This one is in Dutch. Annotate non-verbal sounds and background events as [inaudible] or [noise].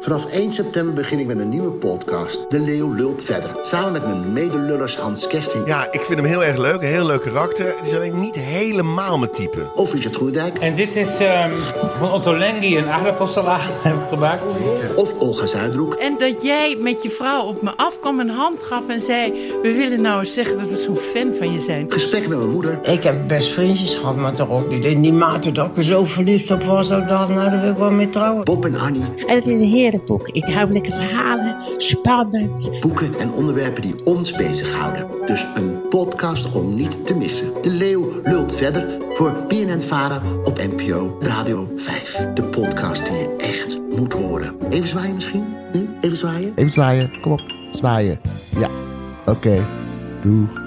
Vanaf 1 september begin ik met een nieuwe podcast, De Leeuw Lult Verder. Samen met mijn medelullers Hans Kesting Ja, ik vind hem heel erg leuk. Een heel leuk karakter. Het is alleen niet helemaal mijn type. of Richard Groenendijk En dit is ehm, van Otto Lengi, een aardappelsalade [laughs] heb ik gemaakt. of Olga Zuidroek. En dat jij met je vrouw op me afkwam, een hand gaf en zei... we willen nou eens zeggen dat we zo'n fan van je zijn. Gesprek met mijn moeder Ik heb best vriendjes gehad, maar toch ook niet in die mate dat ik er zo verliefd op was. Dat ik dacht, nou, daar wil ik wel mee trouwen. Bob en Annie, En het is een heerlijk boek. Ik hou lekker verhalen, spannend. boeken en onderwerpen die ons bezighouden. Dus een podcast om niet te missen. De Leeuw lult verder voor BNN Vara op NPO Radio 5. De podcast die je echt moet horen. Even zwaaien misschien? Hm? Even zwaaien? Even zwaaien. Kom op. Zwaaien. Ja. Oké. Doeg.